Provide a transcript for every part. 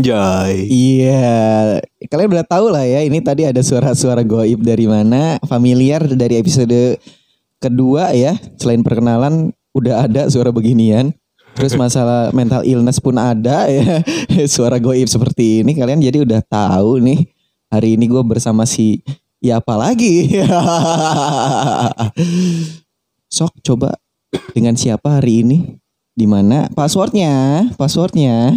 Anjay. Iya, kalian udah tahu lah ya. Ini tadi ada suara-suara goib dari mana, familiar dari episode kedua ya. Selain perkenalan, udah ada suara beginian. Terus masalah mental illness pun ada ya. Suara goib seperti ini kalian jadi udah tahu nih. Hari ini gue bersama si ya apalagi. Sok coba dengan siapa hari ini? Di mana? Passwordnya, passwordnya.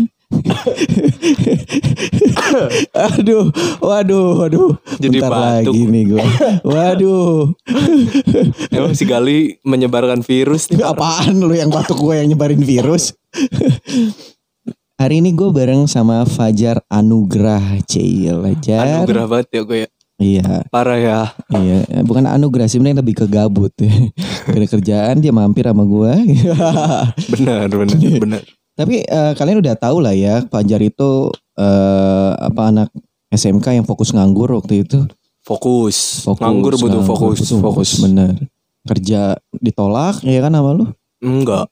aduh, waduh, waduh. Jadi Bentar batuk. lagi nih gue. Waduh. Emang si Gali menyebarkan virus nih. Pak? Apaan lu yang batuk gue yang nyebarin virus? Hari ini gue bareng sama Fajar Anugrah Cil Fajar. Anugerah banget ya gue ya. Iya, Parah ya. iya. Bukan anugrah sih, sebenarnya lebih ke gabut. Gara kerjaan dia mampir sama gue. Benar, benar, benar. Tapi eh, kalian udah tahu lah ya, Fajar itu eh, apa anak SMK yang fokus nganggur waktu itu. Fokus. Fokus, Nganggur butuh nganggur, fokus, butuh fokus. Bener. Kerja ditolak, ya kan sama lu? Enggak.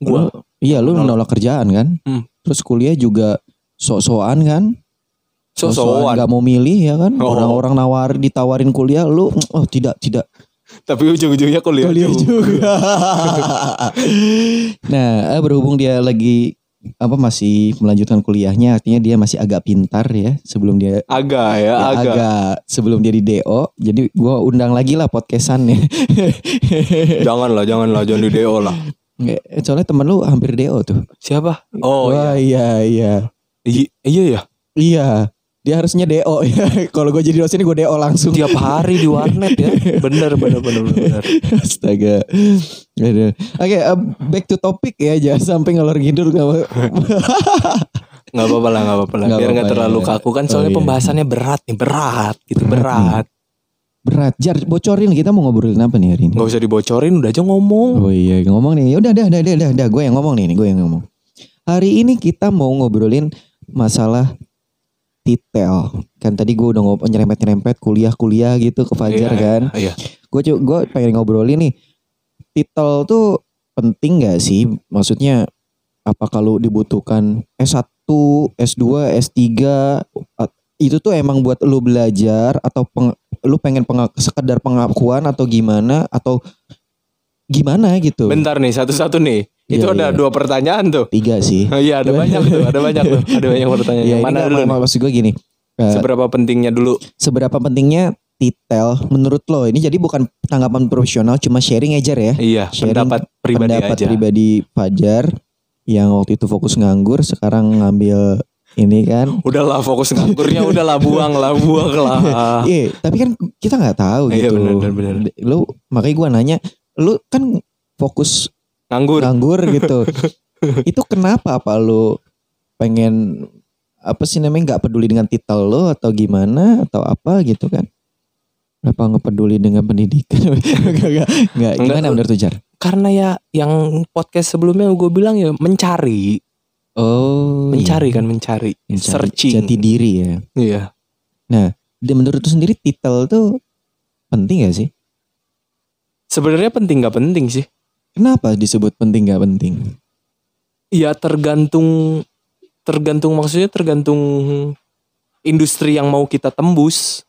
Gua Lu- iya lu Menolak. menolak kerjaan kan. Hmm. Terus kuliah juga sok-sokan kan. sosokan Gak mau milih ya kan. Oh. Orang-orang nawar ditawarin kuliah, lu oh tidak tidak tapi ujung-ujungnya kuliah, kuliah juga. juga. nah, eh, berhubung dia lagi apa masih melanjutkan kuliahnya, artinya dia masih agak pintar ya sebelum dia Agak ya, ya, agak. sebelum dia di DO. Jadi gua undang lagi lah podcastannya. Jangan lah, jangan lah, jangan di DO lah. Eh, Soalnya temen lu hampir DO tuh. Siapa? Oh iya. Wah, iya iya. I- iya ya. Iya. Dia harusnya DO ya. Kalau gue jadi dosen gue DO langsung. Tiap hari di warnet ya. Benar, benar, benar, benar. Astaga. Aduh. Oke, eh, back to topic ya. Jangan sampai ngelor ngidul nggak mau- Nggak apa-apa lah, nggak apa-apa lah. Nggak Biar nggak apa-apa, terlalu iya. kaku kan. Oh, Soalnya iya. pembahasannya berat nih, berat gitu, berat. berat jar bocorin kita mau ngobrolin apa nih hari ini Nggak usah dibocorin, udah aja ngomong. oh iya ngomong nih udah dah dah dah dah, dah. gue yang ngomong nih gue yang ngomong hari ini kita mau ngobrolin masalah detail kan tadi gue udah ngobrol nyerempet nyerempet kuliah kuliah gitu ke Fajar Iya, kan Iya. gue cu- gue pengen ngobrolin nih titel tuh penting gak sih maksudnya apa kalau dibutuhkan S1, S2, S3 a- itu tuh emang buat lu belajar atau peng- lu pengen penga- sekedar pengakuan atau gimana atau gimana gitu. Bentar nih, satu-satu nih. Itu Iya, ada iya. dua pertanyaan tuh. Tiga sih. Iya, ada banyak tuh, ada banyak tuh. Ada banyak pertanyaan. Ya, Yang ini mana nggak dulu? apa-apa, nih? maksud gue gini. eh, Seberapa pentingnya dulu? seberapa pentingnya titel menurut lo? Ini jadi bukan tanggapan profesional cuma sharing aja ya. Iya, sharing pendapat pribadi pendapat aja. pribadi Fajar yang waktu itu fokus nganggur sekarang ngambil ini kan Udahlah fokus nganggurnya, udahlah buang lah, buang lah. Iya, tapi kan kita nggak tahu Ah. Iya, gitu. benar, benar, benar. Lu makanya gua nanya, lu kan fokus Nganggur. nganggur gitu. itu kenapa apa lu pengen apa sih namanya nggak peduli dengan titel lo atau gimana atau apa gitu kan? Kenapa nggak peduli dengan pendidikan? Enggak, enggak, enggak. Gimana Enggak. menurut Tujar? Karena ya yang podcast sebelumnya gue bilang ya mencari, Oh, mencari kan mencari, iya. Mencari searching. jati diri ya. Iya. Dan menurut lu sendiri titel tuh penting gak sih? Sebenarnya penting nggak penting sih? Kenapa disebut penting gak penting? Ya tergantung tergantung maksudnya tergantung industri yang mau kita tembus.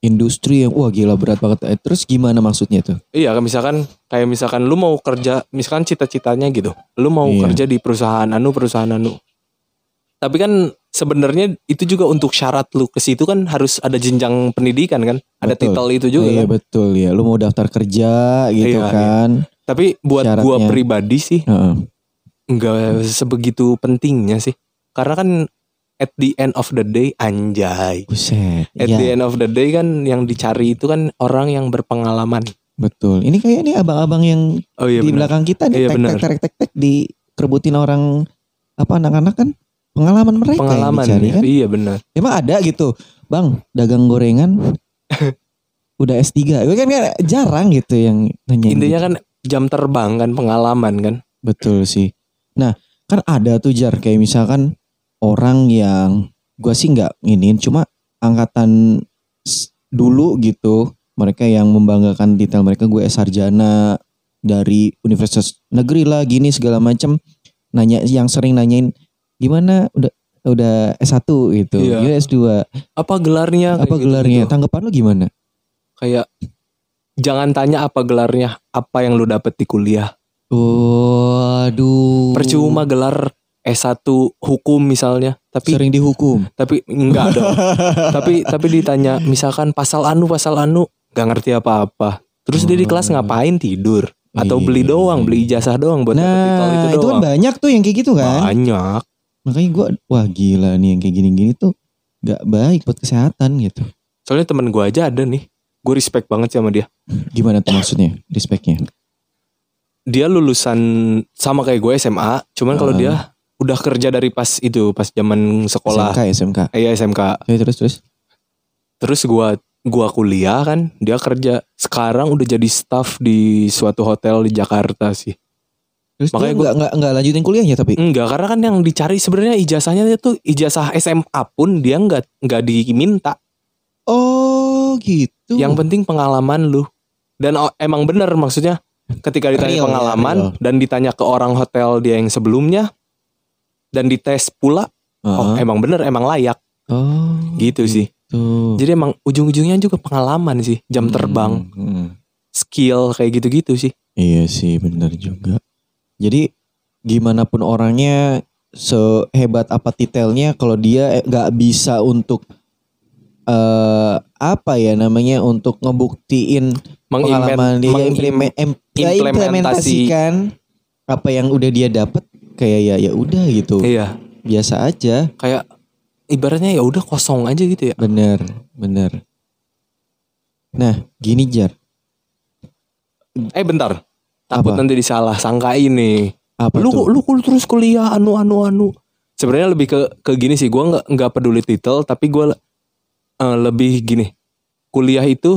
industri yang wah gila berat banget. Eh, Terus gimana maksudnya tuh? Iya, kayak misalkan kayak misalkan lu mau kerja, misalkan cita-citanya gitu. Lu mau Iya. kerja di perusahaan anu, perusahaan anu. Tapi kan sebenarnya itu juga untuk syarat lu ke situ kan harus ada jenjang pendidikan kan? Ada Betul. titel itu juga iya kan. betul ya. Lu mau daftar kerja gitu Iya, kan. Tapi buat gua Syaratnya. pribadi sih Heeh. enggak sebegitu pentingnya sih. Karena kan at the end of the day anjay. Buset. At Iya, the end of the day kan yang dicari itu kan orang yang berpengalaman. betul. Ini kayak nih abang-abang yang Oh iya di benar. belakang kita nih Iya, tek, benar. tek tek tek tek dikerebutin orang apa anak-anak kan pengalaman mereka Pengalaman. yang dicari kan. Iya benar. Emang ada gitu. Bang, dagang gorengan udah S3. Gue kan, kan jarang gitu yang gitu. nanya. Intinya kan jam terbang kan pengalaman kan. Betul sih. Nah, kan ada tuh jar kayak misalkan orang yang gua sih nggak nginin cuma angkatan s- dulu gitu, mereka yang membanggakan detail mereka gue sarjana dari universitas negeri lah gini segala macem nanya yang sering nanyain gimana udah udah S1 gitu. Iya. Dia S2. Apa gelarnya? Kayak Apa gelarnya? gitu-gitu. Tanggapan lu gimana? Kayak jangan tanya apa gelarnya, apa yang lu dapet di kuliah. Waduh. Percuma gelar S1 hukum misalnya, tapi sering dihukum. tapi enggak dong. tapi tapi ditanya misalkan pasal anu pasal anu nggak ngerti apa-apa. Terus dia di kelas ngapain tidur atau beli Iya. doang, beli ijazah doang buat dapet titel Nah, itu, kan doang. banyak tuh yang kayak gitu kan. Banyak. Makanya gua wah gila nih yang kayak gini-gini tuh nggak baik buat kesehatan gitu. Soalnya temen gue aja ada nih. Gue respect banget sama dia. Gimana tuh maksudnya? Respeknya. Dia lulusan sama kayak gue SMA, cuman kalau Ah. dia udah kerja dari pas itu, pas zaman sekolah. SMK SMK. Iya SMK. Oke, Ya, terus terus. Terus gua gua kuliah kan, dia kerja. Sekarang udah jadi staff di suatu hotel di Jakarta sih. Terus Makanya Makanya gua- gua nggak nggak lanjutin kuliahnya tapi. Enggak, karena kan yang dicari sebenarnya ijazahnya itu ijazah SMA pun dia enggak enggak diminta. Oh, gitu. Yang penting pengalaman lu. Dan o- emang bener maksudnya ketika ditanya Real, pengalaman real. dan ditanya ke orang hotel dia yang sebelumnya dan dites pula, oh Heeh. emang bener emang layak Oh, gitu sih. tuh. Jadi emang ujung-ujungnya juga pengalaman sih, jam terbang, Hmm, hmm. skill kayak gitu-gitu sih. Iya sih benar juga. Jadi gimana pun orangnya sehebat apa titelnya kalau dia eh, nggak bisa untuk eh apa ya namanya untuk ngebuktiin Mengimplement- pengalaman dia mengim- impleme- em- ya, implementasi. implementasikan apa yang udah dia dapet kayak ya ya udah gitu Iya, biasa aja kayak ibaratnya ya udah kosong aja gitu ya. bener bener. Nah gini jar Eh bentar. Takut Apa? nanti disalah sangka ini. apa Lu tuh? lu kul- terus kuliah anu anu anu. Sebenarnya lebih ke ke gini sih, gua nggak nggak peduli titel tapi gua eh, lebih gini. Kuliah itu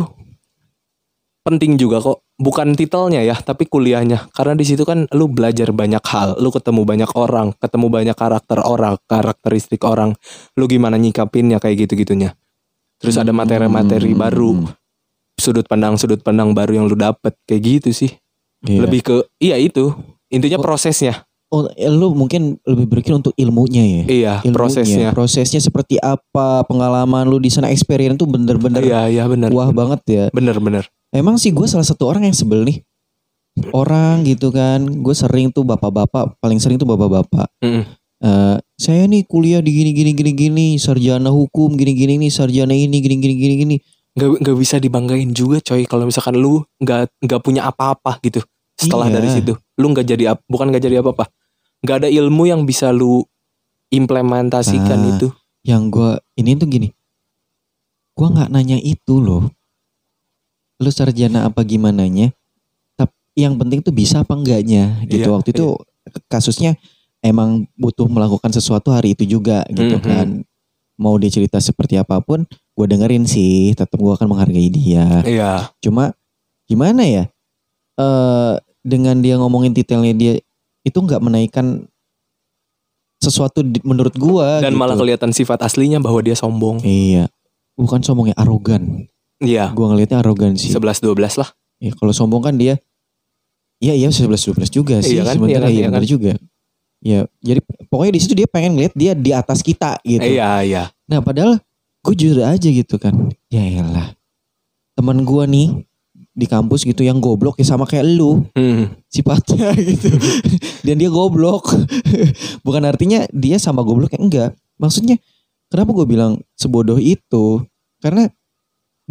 penting juga kok. Bukan titelnya ya, tapi kuliahnya. Karena di situ kan lu belajar banyak hal, lu ketemu banyak orang, ketemu banyak karakter orang, karakteristik orang. Lu gimana nyikapinnya kayak gitu-gitunya. Terus ada materi-materi Hmm. baru, sudut pandang sudut pandang baru yang lu dapet kayak gitu sih. Iya. Lebih ke iya itu. Intinya prosesnya. Oh, eh, lu mungkin lebih berpikir untuk ilmunya ya. Iya, Ilmunya, prosesnya. Prosesnya seperti apa? Pengalaman lu di sana experience tuh bener-bener Iya, iya benar. wah banget ya. Bener bener. Emang sih gue salah satu orang yang sebel nih. Orang gitu kan, gue sering tuh bapak-bapak, paling sering tuh bapak-bapak. Mm-mm. Eh, saya nih kuliah di gini gini gini gini, sarjana hukum gini gini nih, sarjana ini gini gini gini gini. Nggak nggak bisa dibanggain juga coy kalau misalkan lu nggak nggak punya apa-apa gitu. Setelah Iya. dari situ, lu nggak jadi ap- bukan nggak jadi apa-apa. Nggak ada ilmu yang bisa lu implementasikan Ah. itu. Yang gue ini tuh gini, gue nggak nanya itu loh. Lu sarjana apa gimananya? Tapi yang penting tuh bisa apa enggaknya gitu. Iya, Waktu itu kasusnya emang butuh melakukan sesuatu hari itu juga gitu Mhm. kan. Mau dia cerita seperti apapun, gue dengerin sih. Tetap gue akan menghargai dia. Iya. Cuma gimana ya? Eh dengan dia ngomongin detailnya dia itu nggak menaikkan sesuatu di- menurut gue. Dan gitu. malah kelihatan sifat aslinya bahwa dia sombong. Iya. Bukan sombongnya arogan. Iya. Gua ngelihatnya arogansi. 11 12 lah. Ya, kalau sombong kan dia Iya iya 11 12 juga sih Iya kan, sebenarnya iya kan, iya iya bener kan. juga. Ya, jadi pokoknya di situ dia pengen ngeliat dia di atas kita gitu. Iya, iya. Nah, padahal gue jujur aja gitu kan. Ya elah. Teman gua nih di kampus gitu yang goblok ya sama kayak lu Hmm. sifatnya gitu. Dan dia goblok. Bukan artinya dia sama goblok ya, enggak. Maksudnya kenapa gue bilang sebodoh itu? Karena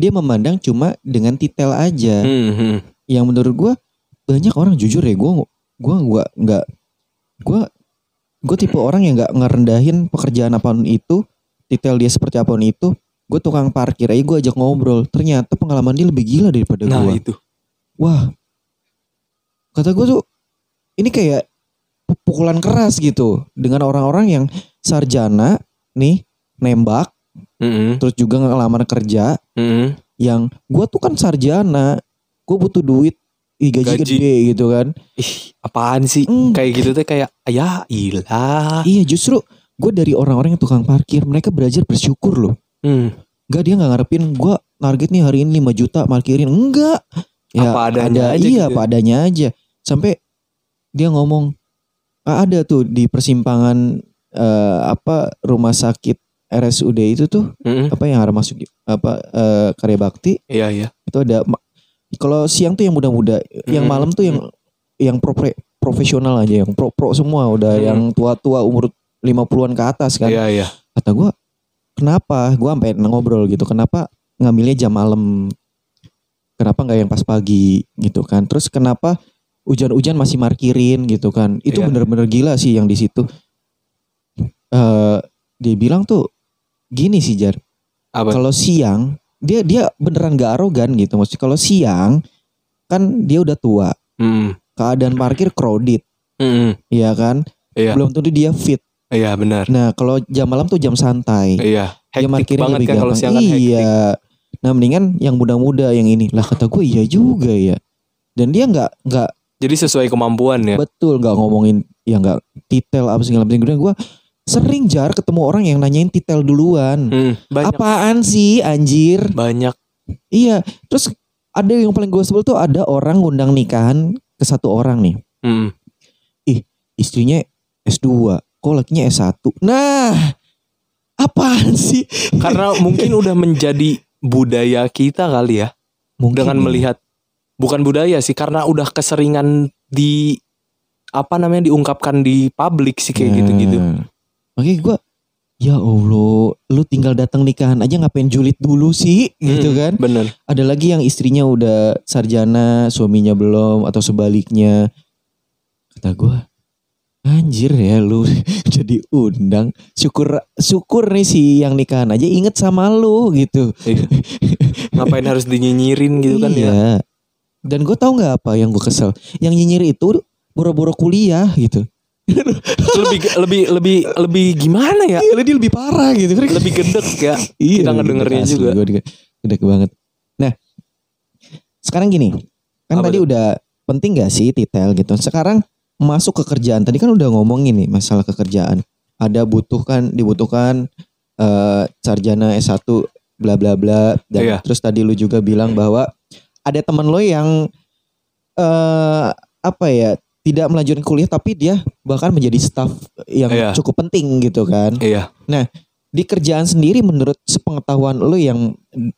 dia memandang cuma dengan titel aja. Hmm, hmm. Yang menurut gue banyak orang jujur ya gue gue gue nggak gue gue tipe orang yang nggak ngerendahin pekerjaan apapun itu titel dia seperti apapun itu gue tukang parkir aja gue ajak ngobrol ternyata pengalaman dia lebih gila daripada Nah, gue itu. wah kata gue tuh ini kayak pu- pukulan keras gitu dengan orang-orang yang sarjana nih nembak Hmm, terus juga ngelamar kerja hmm. yang gue tuh kan sarjana gue butuh duit ih, gaji, Gaji. gede gitu kan Ih, apaan sih? Hmm. Kayak gitu tuh kayak ya ilah. iya justru gue dari orang-orang yang tukang parkir mereka belajar bersyukur loh Hmm. Enggak dia nggak ngarepin gue target nih hari ini 5 juta parkirin enggak Apa adanya aja iya gitu. apa adanya aja sampai dia ngomong "Ah, ada tuh di persimpangan eh, apa rumah sakit RSUD itu tuh Mm-mm. apa yang harus masuk apa eh, karya bakti hmm. Iya iya. itu ada ma- kalau siang tuh yang muda-muda, Mm-mm. yang malam tuh yang yang propre- profesional aja, yang pro-pro semua udah Mm. yang tua-tua umur 50-an ke atas kan. Iya iya. Kata gua, kenapa? Gua sampai ngobrol gitu, kenapa ngambilnya jam malam? Kenapa nggak yang pas pagi gitu kan? Terus kenapa hujan-hujan masih markirin gitu kan? Itu Iya. bener-bener gila sih yang di situ. Eh dia bilang tuh gini sih Jar, Apa? kalau siang dia dia beneran gak arogan gitu maksudnya kalau siang kan dia udah tua Mm. keadaan parkir crowded Mm-mm. ya kan Iya. belum tentu dia fit Iya benar. nah kalau jam malam tuh jam santai Iya. dia Hektik markirnya banget lebih kan kalau gampang. siang kan hektik. iya nah mendingan yang muda-muda yang ini lah kata gue iya juga ya dan dia nggak nggak Jadi sesuai kemampuan ya. betul nggak ngomongin ya nggak titel apa segala macam Kemudian gue sering jar ketemu orang yang nanyain titel duluan Mm. Banyak apaan sih anjir banyak. Iya, terus ada yang paling gue sebel tuh ada orang ngundang nikahan ke satu orang nih. Mm. Istrinya S2, kok lakinya S1. Nah, apaan sih? Karena mungkin udah menjadi budaya kita kali ya. Mungkin dengan ya. melihat bukan budaya sih karena udah keseringan di apa namanya diungkapkan di publik sih kayak Nah, gitu-gitu. Makanya gue, ya Allah, lu tinggal datang nikahan aja ngapain julid dulu sih? Gitu Mm, kan. Bener. Ada lagi yang istrinya udah sarjana, suaminya belum, atau sebaliknya. Kata gue, anjir ya lu jadi undang. Syukur syukur nih si yang nikahan aja inget sama lu gitu. Iya. Ngapain harus dinyinyirin gitu kan ya? iya. Dan gue tau gak apa yang gue kesel. Yang nyinyir itu boro-boro kuliah gitu. Lebih lebih lebih lebih gimana ya? Iya, dia lebih parah gitu. Lebih gedek ya. Iya, Kita ngedengernya asli, juga. Gue juga gede banget. Nah, sekarang gini, kan Apa tadi tuh? udah penting gak sih detail gitu. Sekarang masuk ke kerjaan. Tadi kan udah ngomongin nih masalah kekerjaan. Ada butuhkan dibutuhkan eh sarjana S1 bla bla bla dan Iya. terus tadi lu juga bilang bahwa ada teman lo yang eh apa ya tidak melanjutkan kuliah tapi dia bahkan menjadi staff yang Iya. cukup penting gitu kan Iya. di kerjaan sendiri menurut sepengetahuan lu yang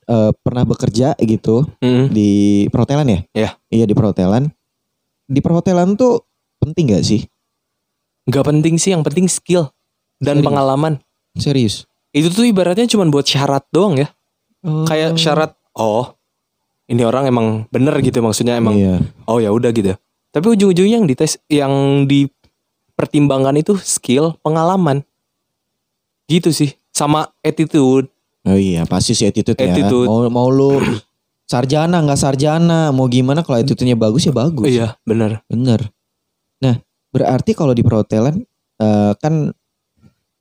eh, pernah bekerja gitu Mm. di perhotelan ya? Iya. Iya di perhotelan. Di perhotelan tuh penting gak sih? Gak penting sih, yang penting skill dan Serius. pengalaman. Serius. Itu tuh ibaratnya cuman buat syarat doang ya. Hmm. Kayak syarat oh ini orang emang bener gitu maksudnya emang Iya. oh ya udah gitu tapi ujung-ujungnya yang dites yang dipertimbangkan itu skill pengalaman gitu sih sama attitude Oh iya, pasti sih attitude, Attitude. ya. Mau mau lu sarjana nggak sarjana, mau gimana kalau attitude-nya bagus ya bagus. iya bener Bener. Nah, berarti kalau di perhotelan eh, kan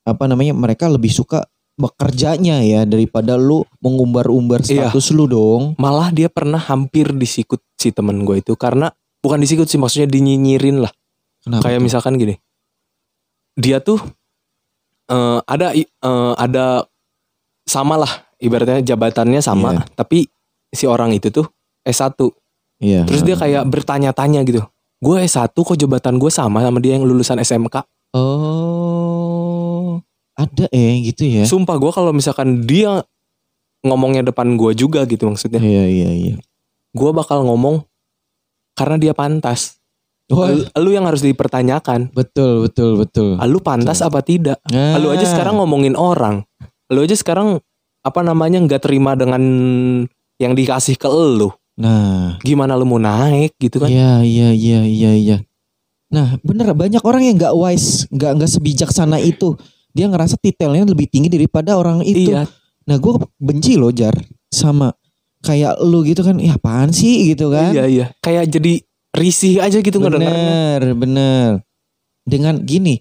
apa namanya mereka lebih suka bekerjanya ya daripada lu mengumbar-umbar Iya. status lu dong. malah dia pernah hampir disikut si temen gue itu karena bukan disikut sih maksudnya dinyinyirin lah Kenapa? kayak tuh? misalkan gini dia tuh eh, ada i- eh, ada sama lah ibaratnya jabatannya sama tapi si orang itu tuh S1 Iya. terus dia kayak bertanya-tanya gitu gue S1 kok jabatan gue sama sama dia yang lulusan SMK Oh, ada eh gitu ya? Sumpah gue kalau misalkan dia ngomongnya depan gue juga gitu maksudnya. Iya iya iya. Gue bakal ngomong karena dia pantas. Lu, lu yang harus dipertanyakan. betul betul betul. Nah, Ah, Lu pantas apa tidak? Ah, Lu aja sekarang ngomongin orang. Lu aja sekarang apa namanya nggak terima dengan yang dikasih ke lu. Nah, Gimana lu mau naik gitu kan? iya iya iya iya iya. Nah, bener banyak orang yang nggak wise, nggak nggak sebijaksana itu. Dia ngerasa titelnya lebih tinggi daripada orang itu. Iya. Nah, gue benci loh Jar sama kayak lu gitu kan. Ya apaan sih gitu kan? Iya iya. Kayak jadi risih aja gitu ngedengarnya. Bener, bener. Dengan gini,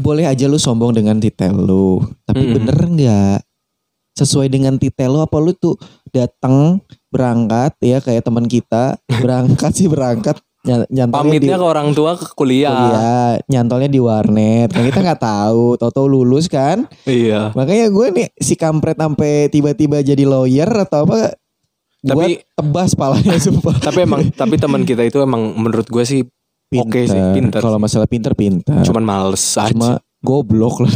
boleh aja lu sombong dengan titel lu, tapi Mm-mm. bener nggak? Sesuai dengan titel lu apa lu tuh datang berangkat ya kayak teman kita berangkat sih berangkat ny- nyantolnya di Pamitnya ke orang tua ke kuliah. kuliah, nyantolnya di warnet kan kita nggak tahu toto lulus kan Iya. makanya gue nih si kampret sampai tiba-tiba jadi lawyer atau apa gue Tapi- tebas palanya sumpah tapi emang tapi teman kita itu emang menurut gue sih Oke sih, pinter kalau masalah pinter pinter cuman males aja cuma goblok lah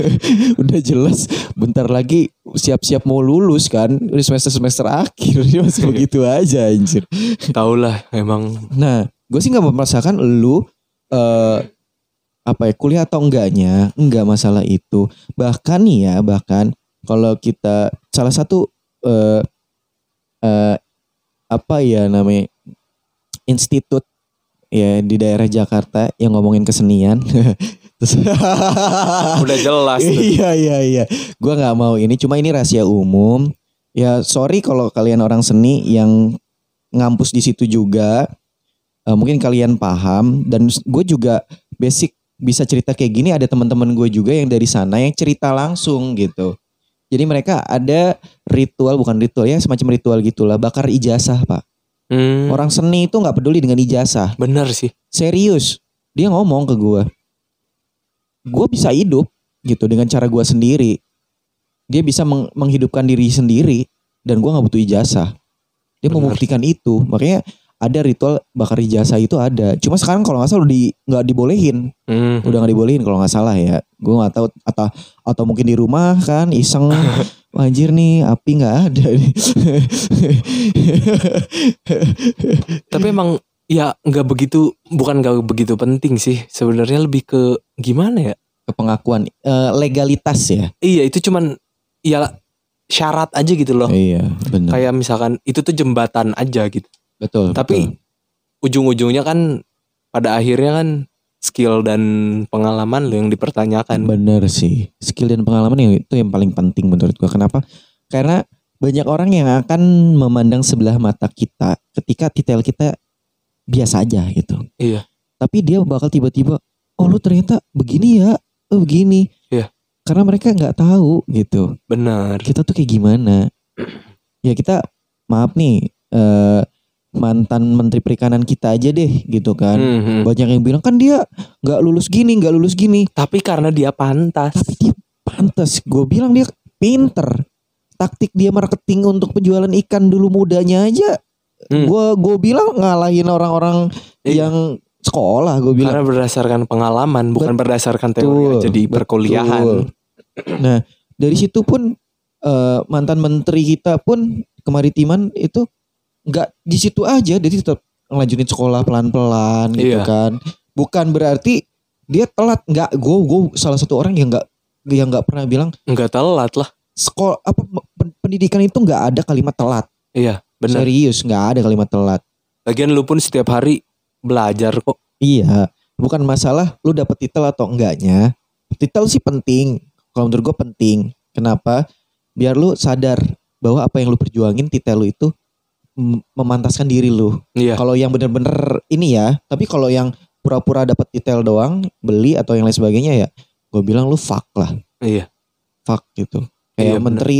udah jelas bentar lagi siap-siap mau lulus kan udah semester semester akhir dia masih begitu aja anjir Tau lah emang nah gue sih nggak merasakan lu eh apa ya kuliah atau enggaknya enggak masalah itu bahkan nih ya bahkan kalau kita salah satu eh eh, apa ya namanya institut ya di daerah Jakarta yang ngomongin kesenian Terus- udah jelas. tuh. Ah. Iya iya iya. Gua nggak mau ini. Cuma ini rahasia umum. Ya sorry kalau kalian orang seni yang ngampus di situ juga. Eh, mungkin kalian paham dan gue juga basic bisa cerita kayak gini ada teman-teman gue juga yang dari sana yang cerita langsung gitu. Jadi mereka ada ritual bukan ritual ya semacam ritual gitulah bakar ijazah pak. Hmm, Orang seni itu nggak peduli dengan ijazah bener sih. serius dia ngomong ke gue gue bisa hidup gitu dengan cara gue sendiri dia bisa meng- menghidupkan diri sendiri dan gue nggak butuh ijazah dia Benar. membuktikan itu makanya ada ritual bakar ijazah itu ada cuma sekarang kalau nggak salah udah di nggak dibolehin Hmm. udah nggak dibolehin kalau nggak salah ya gue nggak tahu atau atau mungkin di rumah kan iseng "Wah, anjir nih api nggak ada nih Tapi emang ya nggak begitu bukan nggak begitu penting sih sebenarnya lebih ke gimana ya? kepengakuan Eh, legalitas ya Iya itu cuman ya syarat aja gitu loh. iya benar Kayak misalkan itu tuh jembatan aja gitu. betul Tapi betul. ujung-ujungnya kan pada akhirnya kan skill dan pengalaman lo yang dipertanyakan. Bener sih. Skill dan pengalaman yang itu yang paling penting menurut gua. Kenapa? Karena banyak orang yang akan memandang sebelah mata kita ketika detail kita biasa aja gitu. Iya. Tapi dia bakal tiba-tiba, oh lu ternyata begini ya, oh begini. Iya. Karena mereka nggak tahu gitu. Bener. Kita tuh kayak gimana? Ya kita maaf nih eh, mantan Menteri Perikanan kita aja deh gitu kan. Hmm, hmm. Banyak yang bilang kan dia nggak lulus gini, nggak lulus gini Tapi karena dia pantas. tapi dia pantas gue bilang dia pinter taktik dia marketing untuk penjualan ikan dulu mudanya aja Hmm. gue bilang ngalahin orang-orang Iya. yang sekolah gue bilang Karena berdasarkan pengalaman, bukan berdasarkan teori Betul, aja di Iya. betul. perkuliahan. nah dari situ pun eh, mantan menteri kita pun kemaritiman itu nggak di situ aja jadi tetap ngelanjutin sekolah pelan-pelan gitu Iya. kan bukan berarti dia telat nggak gue gue salah satu orang yang nggak yang nggak pernah bilang Nggak telat lah. sekolah apa pen- pendidikan itu nggak ada kalimat telat Iya, benar. serius nggak ada kalimat telat Lagian lu pun setiap hari belajar kok. iya bukan masalah lu dapet titel atau enggaknya titel sih penting kalau menurut gue penting kenapa biar lu sadar bahwa apa yang lu perjuangin titel lu itu mem- memantaskan diri lu Iya. kalau yang bener-bener ini ya tapi kalau yang pura-pura dapet titel doang beli atau yang lain sebagainya ya gue bilang lu fuck lah Iya. fuck gitu. Iya, Kayak bener. menteri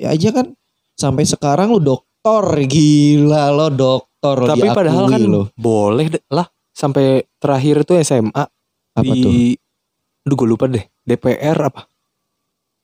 ya aja kan sampai sekarang lu doktor gila lo doktor lo Tapi diakui padahal kan lo. boleh de- lah sampai terakhir tuh SMA apa di tuh? Aduh gue lupa deh, DPR apa?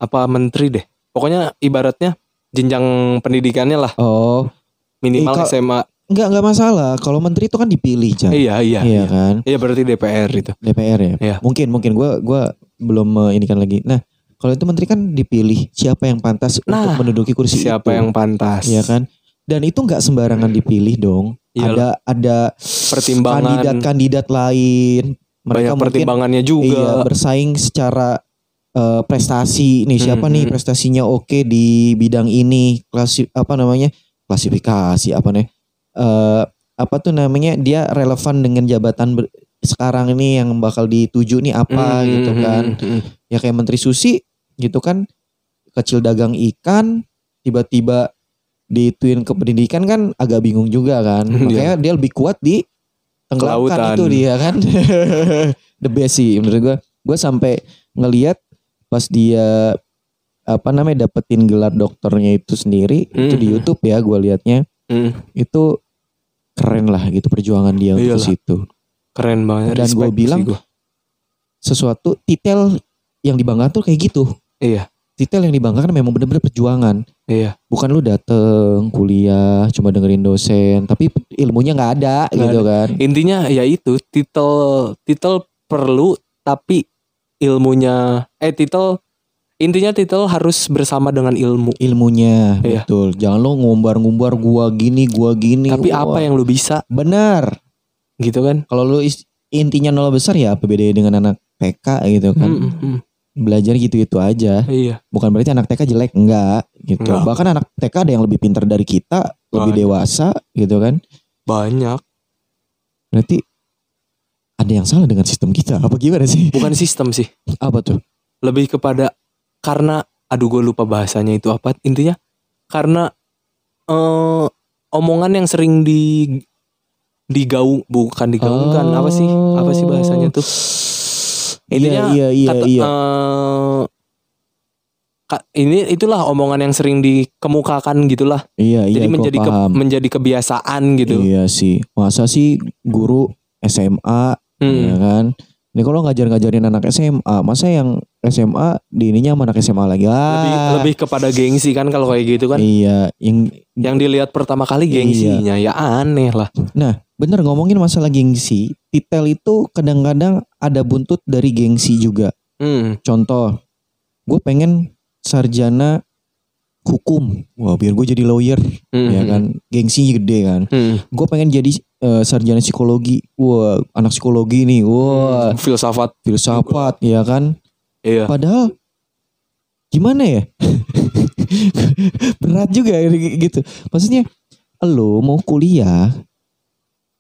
Apa menteri deh. Pokoknya ibaratnya jenjang pendidikannya lah Oh, minimal Eh, kal- SMA. enggak enggak masalah. Kalau menteri itu kan dipilih, Jan. Iya, iya. iya Iya, kan? Iya, berarti DPR itu. DPR ya. Iya. Mungkin mungkin gua gua belum eh, ini kan lagi. Nah, kalau itu menteri kan dipilih siapa yang pantas Nah, untuk menduduki kursi Siapa itu. yang pantas? Iya kan? Dan itu nggak sembarangan dipilih dong. Iyalah. Ada ada Pertimbangan. kandidat-kandidat Banyak lain. kan. Mereka mungkin pertimbangannya Iya juga. bersaing secara eh, prestasi nih siapa Hmm, nih hmm. prestasinya oke di bidang ini klasi apa namanya klasifikasi apa nih Eh, apa tuh namanya dia relevan dengan jabatan ber- sekarang ini yang bakal dituju nih apa Hmm, gitu hmm, kan hmm, hmm. ya kayak Menteri Susi gitu kan kecil dagang ikan tiba-tiba dituin ke pendidikan kan agak bingung juga kan Iya. makanya dia lebih kuat di Kelautan. tenggelamkan itu dia kan the best sih menurut gua gua sampai ngeliat pas dia apa namanya dapetin gelar dokternya itu sendiri itu di Mhm. YouTube ya gua liatnya Hmm. itu keren lah gitu perjuangan dia untuk Iyalah. situ Keren banget. Dan respect gua sih bilang- gua. sesuatu titel yang dibanggakan tuh kayak gitu Iya. titel yang dibanggakan memang benar-benar perjuangan Iya. bukan lu dateng kuliah cuma dengerin dosen tapi ilmunya nggak ada Nggak gitu kan Intinya ya itu titel titel perlu tapi ilmunya eh titel intinya titel harus bersama dengan ilmu. ilmunya Iya. betul jangan lo ngumbar-ngumbar gua gini gua gini Tapi apa ya? yang lu bisa benar gitu kan? kalau lu is- intinya nol besar ya apa bedanya dengan anak TK gitu kan Mm, mm, mm. belajar gitu-gitu aja Iya. bukan berarti anak TK jelek enggak gitu Enggak. bahkan anak TK ada yang lebih pintar dari kita lebih Banyak. dewasa gitu kan Banyak. berarti ada yang salah dengan sistem kita apa gimana sih Bukan sistem sih. apa tuh Lebih kepada karena aduh gue lupa bahasanya itu apa intinya karena eh, omongan yang sering di digaung bukan digaungkan apa sih apa sih bahasanya tuh Intinya iya iya Kata- iya eh, ka- ini itulah omongan yang sering dikemukakan gitulah iya iya jadi gua menjadi ke- paham. menjadi kebiasaan gitu iya sih masa sih guru SMA Hmm. ya kan ini kalau ngajar-ngajarin anak SMA masa yang SMA di ininya sama anak SMA lagi ah, lebih lebih kepada gengsi kan kalau kayak gitu kan iya yang yang dilihat pertama kali Iya. gengsinya ya aneh lah nah, bener ngomongin masalah gengsi titel itu kadang-kadang ada buntut dari gengsi juga Hmm. Contoh, gue pengen sarjana hukum. Wah, biar gue jadi lawyer, Hmm. ya kan? Gengsinya gede kan. Hmm. Gue pengen jadi eh, sarjana psikologi. Wah, anak psikologi nih. Wah, Mm-hmm. filsafat filsafat, ya kan? iya Padahal gimana ya? Berat juga gitu. Maksudnya, lo mau kuliah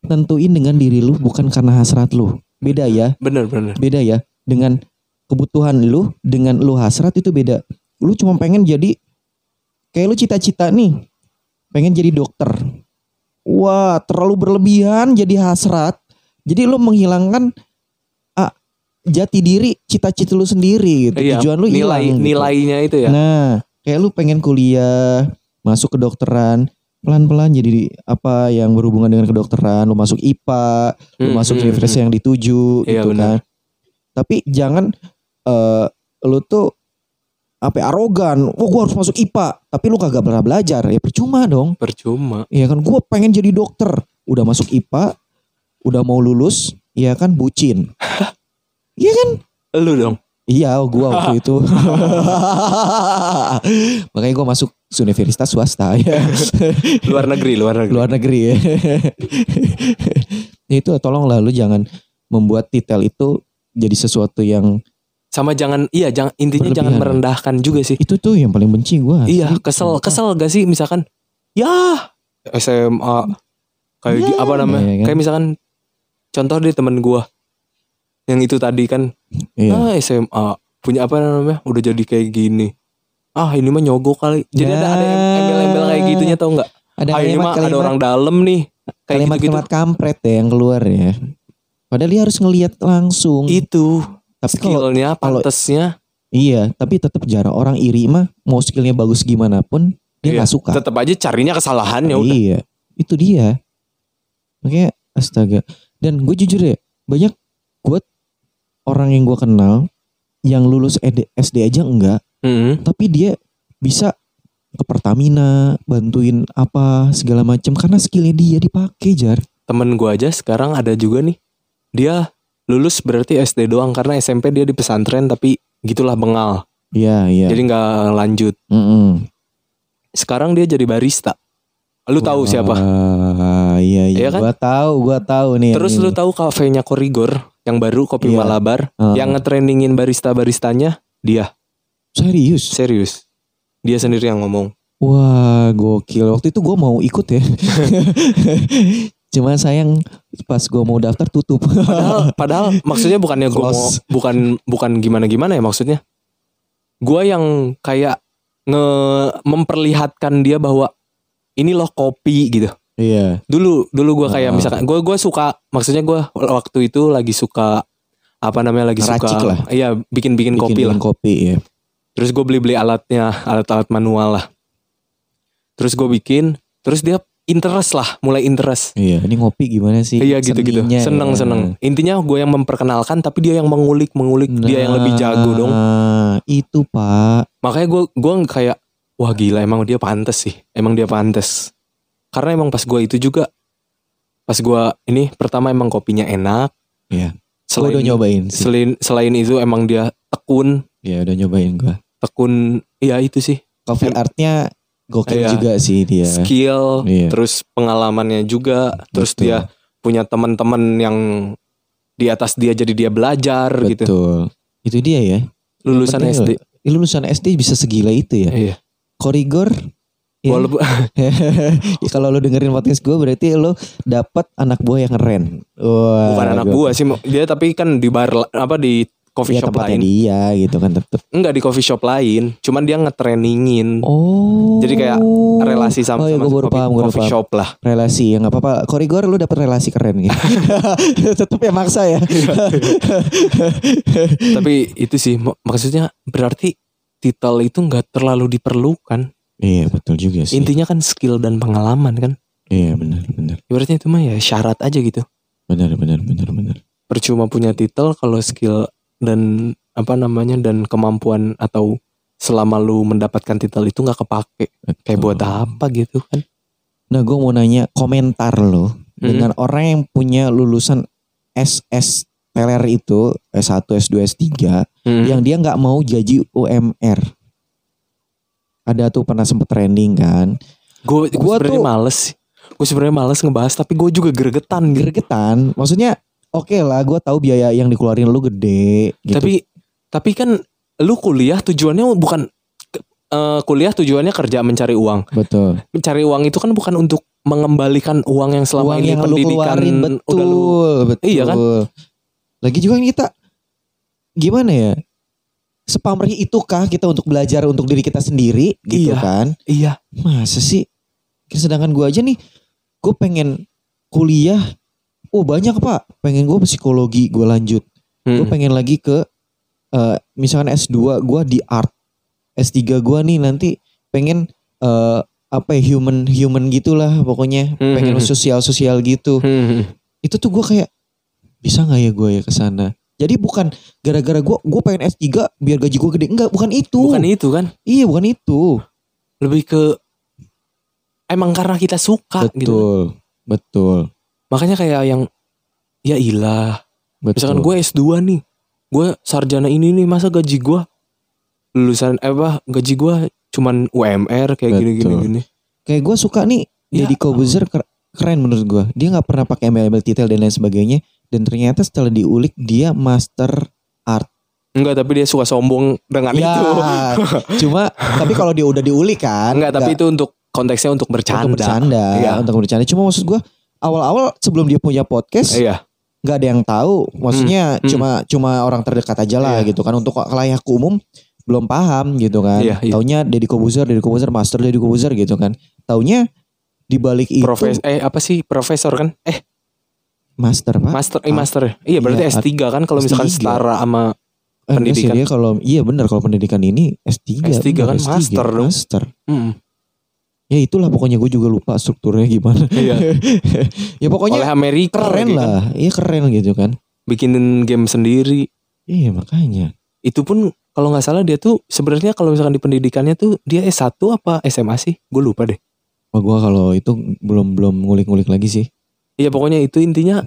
tentuin dengan diri lu bukan karena hasrat lu. Beda ya bener bener beda ya dengan kebutuhan lu dengan lu hasrat itu beda lu cuma pengen jadi kayak lu cita-cita nih pengen jadi dokter wah terlalu berlebihan jadi hasrat jadi lu menghilangkan ah, jati diri cita-cita lu sendiri gitu Iya, tujuan lu hilang nilai gitu. nilainya itu ya nah kayak lu pengen kuliah masuk kedokteran pelan-pelan jadi apa yang berhubungan dengan kedokteran lu masuk IPA lu Hmm, masuk hmm, universitas yang dituju Iya, gitu benar. kan. Tapi jangan eh, lu tuh apa ya, arogan, wah gua harus masuk IPA, tapi lu kagak pernah belajar, ya percuma dong. hmm. percuma Ya kan gua pengen jadi dokter, udah masuk IPA, udah mau lulus, ya kan bucin. Iya kan? lu dong Iya, gua waktu itu. Makanya gua masuk universitas swasta ya. luar negeri luar negeri luar negeri ya. Ya itu tolonglah lu jangan membuat titel itu jadi sesuatu yang sama jangan iya jangan intinya Berlebihan. jangan merendahkan juga sih itu tuh yang paling benci gua. Gitu. iya kesel kesel gak sih misalkan ya SMA kayak Ya, gi- apa namanya iya kan. kayak misalkan contoh deh temen gua yang itu tadi kan Iya. ah SMA punya apa namanya udah jadi kayak gini ah ini mah nyogok kali jadi ada ada Nah. embel-embel kayak gitunya tau nggak Ada ah ini mah ada orang dalam nih kayak kalimat, gitu, kalimat kampret ya yang keluar ya. Padahal dia harus ngelihat langsung. itu tapi kalau skillnya kalau- pantesnya iya, tapi tetap jarang orang iri mah mau skillnya bagus gimana pun Iya, dia nggak suka. tetap aja carinya kesalahannya udah Iya, itu dia. Makanya astaga. Dan gue jujur ya, banyak gue orang yang gue kenal yang lulus ED SD aja enggak, Mm-mm. tapi dia bisa ke Pertamina bantuin apa segala macam karena skillnya dia dipakai jar. temen gua aja sekarang ada juga nih dia lulus berarti SD doang karena SMP dia di pesantren tapi gitulah bengal Iya iya. jadi nggak lanjut Mm-mm. sekarang dia jadi barista lu tahu Wah, siapa Iya iya. Iya kan? Gue tahu gue tahu nih. terus ini. lu tahu kafenya Korigor yang baru kopi Iya. Malabar Heeh. yang ngetrainingin barista baristanya dia serius? serius dia sendiri yang ngomong Wah gokil Waktu itu gue mau ikut ya Cuma sayang pas gue mau daftar tutup padahal padahal maksudnya bukannya gua mau Close. bukan bukan gimana gimana ya maksudnya gua yang kayak nge memperlihatkan dia bahwa ini loh kopi gitu Iya dulu dulu gue kayak Ah. misalkan gue gue suka maksudnya gue waktu itu lagi suka apa namanya lagi Racik suka lah. iya bikin bikin kopi lah bikin kopi ya terus gue beli beli alatnya alat alat manual lah terus gue bikin terus dia interest lah mulai interest Iya ini ngopi gimana sih iya gitu gitu seninya seneng ya. seneng intinya gue yang memperkenalkan tapi dia yang mengulik mengulik dia yang lebih jago dong Nah, Itu pak makanya gue gua kayak wah gila emang dia pantas sih emang dia pantas karena emang pas gue itu juga pas gue ini pertama emang kopinya enak Iya. Setelah Gue udah nyobain sih. selain selain itu emang dia tekun Ya udah nyobain gue. tekun ya itu sih Coffee artnya gokil Iya. juga sih dia. skill Iya. terus pengalamannya juga terus Betul. dia punya teman-teman yang di atas dia jadi dia belajar gitu Betul. Itu dia ya. lulusan Penting SD loh. Lulusan SD bisa segila itu ya. iya Korigor. ya. walaupun Ya, kalau lo dengerin podcast gue berarti lo dapat anak buah yang keren. Wah, bukan anak gua- gua sih dia tapi kan di bar la- apa di coffee Ya shop tempatnya lain dia gitu kan tetep. enggak di coffee shop lain cuman dia ngetrainingin Oh. jadi kayak relasi sama, oh, ya, sama gue baru coffee, paham, gue coffee shop lah Relasi ya nggak apa-apa. Korigor lu dapat relasi keren gitu. tetep ya maksa ya. tapi itu sih mak- maksudnya berarti titel itu nggak terlalu diperlukan iya betul juga sih. intinya kan skill dan pengalaman kan Iya benar benar ibaratnya itu mah ya syarat aja gitu benar benar benar benar. percuma punya titel kalau skill dan apa namanya dan kemampuan atau selama lu mendapatkan titel itu nggak kepake kayak buat Hmm. apa gitu kan Nah gue mau nanya komentar lo Hmm. dengan orang yang punya lulusan SS teler itu S1, S2, S3 Hmm. Ya, yang dia nggak mau jadi UMR. Ada tuh pernah sempet trending kan. gue Gua sebenarnya tuh- males gue sebenarnya males ngebahas tapi gue juga gregetan gitu Gregetan, maksudnya oke lah gue tahu biaya yang dikeluarin lu gede gitu. tapi tapi kan lu kuliah tujuannya bukan eh, kuliah tujuannya kerja mencari uang betul. mencari uang itu kan bukan untuk mengembalikan uang yang selama Uang ini yang lu pendidikan keluarin betul, udah lu betul. Iya kan? Lagi juga kan kita gimana ya? Sepamrih itukah kita untuk belajar untuk diri kita sendiri gitu Iya. kan? iya Masa sih? Sedangkan gue aja nih, gue pengen kuliah. Oh banyak pak, pengen gue psikologi gue lanjut. Gue Hmm. pengen lagi ke, eh, misalkan S2 gue di art. S3 gue nih nanti pengen eh, apa ya human human gitulah pokoknya Hmm, pengen hmm, hmm. sosial sosial gitu Hmm. itu tuh gue kayak bisa nggak ya gue ya ke sana jadi bukan gara-gara gue gue pengen S3 biar gaji gue gede enggak bukan itu bukan itu kan iya bukan itu lebih ke emang karena kita suka gitu betul makanya kayak yang ya ilah betul misalkan gue S2 nih gue sarjana ini nih masa gaji gue lulusan eh apa gaji gue cuman UMR kayak gini gini Betul. gini kayak gue suka nih Ya Deddy Kobuzer keren menurut gue dia nggak pernah pakai embel-embel titel dan lain sebagainya dan ternyata setelah diulik dia master enggak tapi dia suka sombong dengan Ya, itu cuma tapi kalau dia udah diulik kan enggak tapi itu untuk konteksnya untuk bercanda, untuk bercanda Iya. untuk bercanda cuma maksud gue awal-awal sebelum dia punya podcast iya nggak ada yang tahu maksudnya hmm. cuma cuma orang terdekat aja lah Iya. gitu kan untuk kelayak umum belum paham gitu kan Iya, iya. taunya Deddy Kobuzer Deddy Kobuzer master Deddy Kobuzer gitu kan taunya di balik itu profes eh apa sih profesor kan eh master pak master eh master ya? iya berarti Iya, S3 kan kalau misalkan S3. setara sama Eh, enggak sih, pendidikan. dia kalau iya benar kalau pendidikan ini S3 S3 benar, kan master dong. master Mm, ya itulah pokoknya gue juga lupa strukturnya gimana iya ya pokoknya oleh Amerika lagi kan. keren lah iya keren gitu kan bikinin game sendiri iya makanya itu pun kalau nggak salah dia tuh sebenarnya kalau misalkan di pendidikannya tuh dia S1 apa SMA sih? Gue lupa deh. Wah gue kalau itu belum belum ngulik-ngulik lagi sih Iya pokoknya itu intinya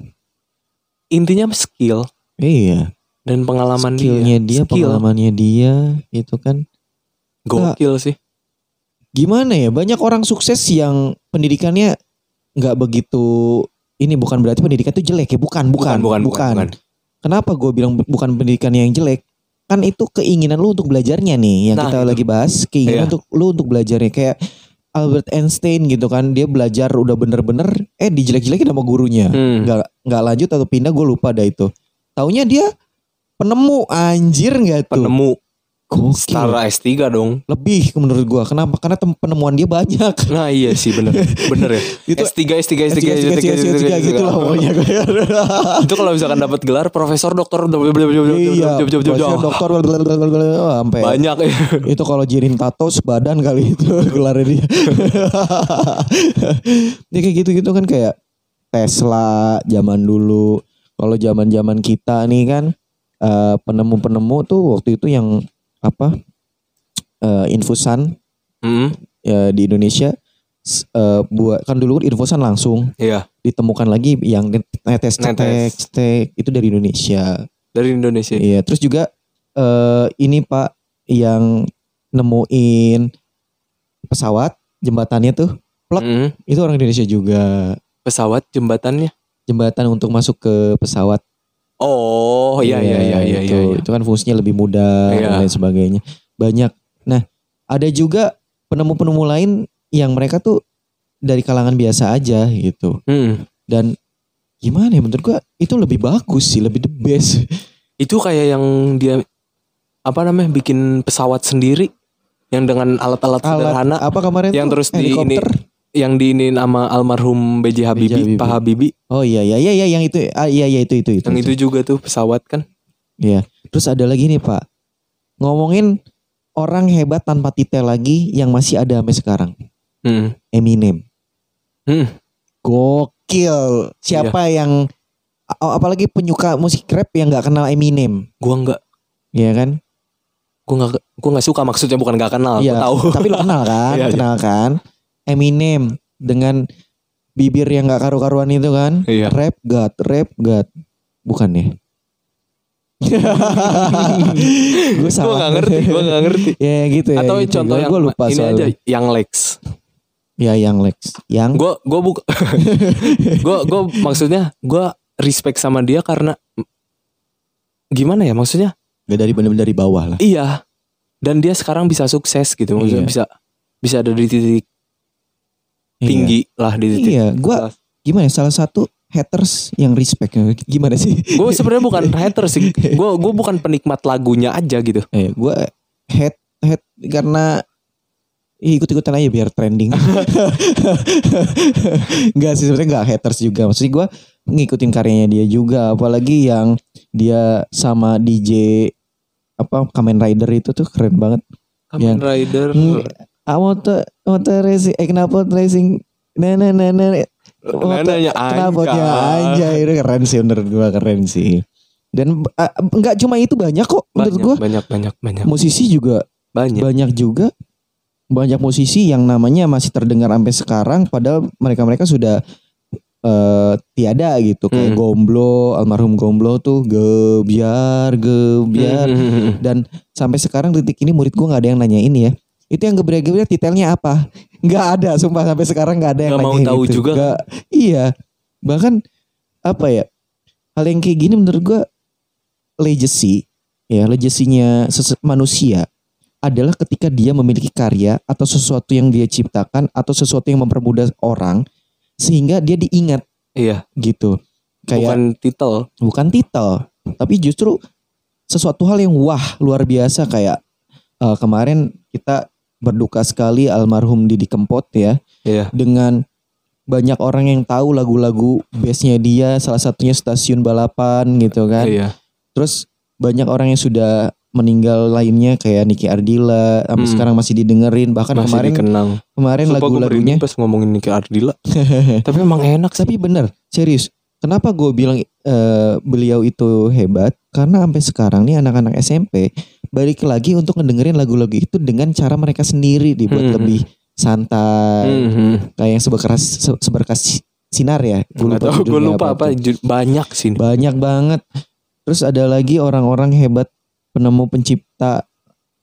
intinya skill iya dan pengalaman skillnya dia, Skill. pengalamannya dia itu kan Gokil sih. gimana ya banyak orang sukses yang pendidikannya nggak begitu ini bukan berarti pendidikan itu jelek ya bukan bukan bukan, kenapa gue bilang bu- bukan pendidikan yang jelek kan itu keinginan lu untuk belajarnya nih yang Nah, kita itu. lagi bahas keinginan Iya. untuk lu untuk belajarnya kayak Albert Einstein gitu kan dia belajar udah bener-bener eh dijelek-jelekin sama gurunya Hmm. nggak nggak lanjut atau pindah gue lupa dah itu taunya dia penemu anjir nggak tuh Penemu Gokil. setara S3 dong. lebih menurut gua kenapa karena tem- penemuan dia banyak Nah iya sih bener bener ya. Itu- S3 S3 S3 tiga tiga tiga tiga gitu lah pokoknya Itu kalau misalkan dapat gelar profesor dokter iya dosen, dokter blablabla, blablabla, wah, sampai banyak ya. itu kalau jirin tato sebadan kali itu gelarnya dia ya kayak gitu gitu kan kayak Tesla zaman dulu kalau zaman zaman kita nih kan eh, penemu-penemu tuh waktu itu yang apa eh, infusan Hmm, eh, ya, di Indonesia s- eh, buat kan dulu kan infusan langsung Iya. ditemukan lagi yang netes Netes. netes itu dari Indonesia. dari Indonesia. Iya, terus juga eh ini Pak yang nemuin pesawat jembatannya tuh Plek. Mm. itu orang Indonesia juga. Pesawat jembatannya. Jembatan untuk masuk ke pesawat. Oh iya iya iya iya itu, iya. iya. itu kan fungsinya lebih mudah Iya. dan lain sebagainya. Banyak. Nah, ada juga penemu-penemu lain yang mereka tuh dari kalangan biasa aja gitu. Mm. Dan gimana ya menurut gua itu lebih bagus sih, lebih the best. Itu kayak yang dia apa namanya bikin pesawat sendiri yang dengan alat-alat sederhana Alat apa kemarin yang tuh? terus di ini helikopter. yang diinin sama almarhum BJ Habibie, Habibie. Pak Habibie. Oh iya iya iya iya, yang itu ah, iya iya itu itu itu. Yang itu juga tuh pesawat kan. Iya. Terus ada lagi nih Pak. Ngomongin orang hebat tanpa titel lagi yang masih ada sampai sekarang. Mm. Eminem. Hmm. Gokil. Siapa Iya. yang a- apalagi penyuka musik rap yang nggak kenal Eminem, Gua nggak ya kan? gua nggak gua nggak suka maksudnya bukan nggak kenal, Iya, gua tahu. Tapi lo kenal kan? Iya, iya. kenal kan? Eminem dengan bibir yang nggak karu-karuan itu kan? Iya. Rap god, rap god. Bukan ya? gue Gua salah. nggak ngerti, gua nggak ngerti. Ya gitu ya. Atau gitu. contoh Gua- yang gua lupa ini aja soalnya. yang Lex. Ya yang Lex, yang Gue gue buka gue gue maksudnya gue respect sama dia karena gimana ya maksudnya Gak dari bener-bener dari bawah lah. iya dan dia sekarang bisa sukses gitu maksudnya Iya. bisa bisa ada di titik tinggi lah di titik Iya, gua- Gimana? ya, Salah satu haters yang respect. Gimana sih? gue sebenarnya bukan hater sih gue gue bukan penikmat lagunya aja gitu Eh, gue head head karena Ih, ikut-ikutan aja biar trending. Enggak sih sebenarnya enggak haters juga. Maksudnya gue ngikutin karyanya dia juga, apalagi yang dia sama DJ apa Kamen Rider itu tuh keren banget. Kamen Rider Hmm, ah, motor motor racing, eh kenapa racing? Nah, nah, nah, nah. Motor- Neneknya Knalpotnya anjay. anjay itu keren sih menurut gua keren sih. Dan ah, enggak cuma itu banyak kok menurut banyak, gua. banyak banyak banyak Musisi juga banyak banyak juga banyak musisi yang namanya masih terdengar sampai sekarang padahal mereka-mereka sudah eh, tiada gitu kayak Hmm. Gomblo, almarhum Gomblo tuh gebiar gebiar Hmm. dan sampai sekarang detik ini murid gua nggak ada yang nanya ini ya. Itu yang gebrak-gebrak titelnya apa? Nggak ada, sumpah sampai sekarang nggak ada yang Nggak mau nanyain tahu itu. juga. Nggak- iya. Bahkan apa ya? Hal yang kayak gini menurut gua legacy ya, legasinya manusia adalah ketika dia memiliki karya atau sesuatu yang dia ciptakan atau sesuatu yang mempermudah orang sehingga dia diingat iya gitu. Kayak bukan titel bukan titel tapi justru sesuatu hal yang wah luar biasa kayak eh, kemarin kita berduka sekali almarhum Didi Kempot ya iya dengan banyak orang yang tahu lagu-lagu bestnya dia salah satunya stasiun balapan gitu kan iya terus banyak orang yang sudah meninggal lainnya kayak Niki Ardila sampai Hmm. sekarang masih didengerin bahkan masih kemarin dikenang kemarin Sumpah gue lagu-lagunya merinding pas ngomongin Niki Ardila Tapi emang enak sih Tapi bener, serius. Kenapa gue bilang eh, beliau itu hebat? Karena sampai sekarang nih anak-anak SMP balik lagi untuk ngedengerin lagu-lagu itu dengan cara mereka sendiri dibuat Hmm. lebih santai. Mhm. Kayak yang seberkas se- seberkas si- sinar ya. Gua Nggak tahu, gue judulnya lupa apa, tuh. ju- banyak sih Banyak banget. Terus ada lagi orang-orang hebat penemu pencipta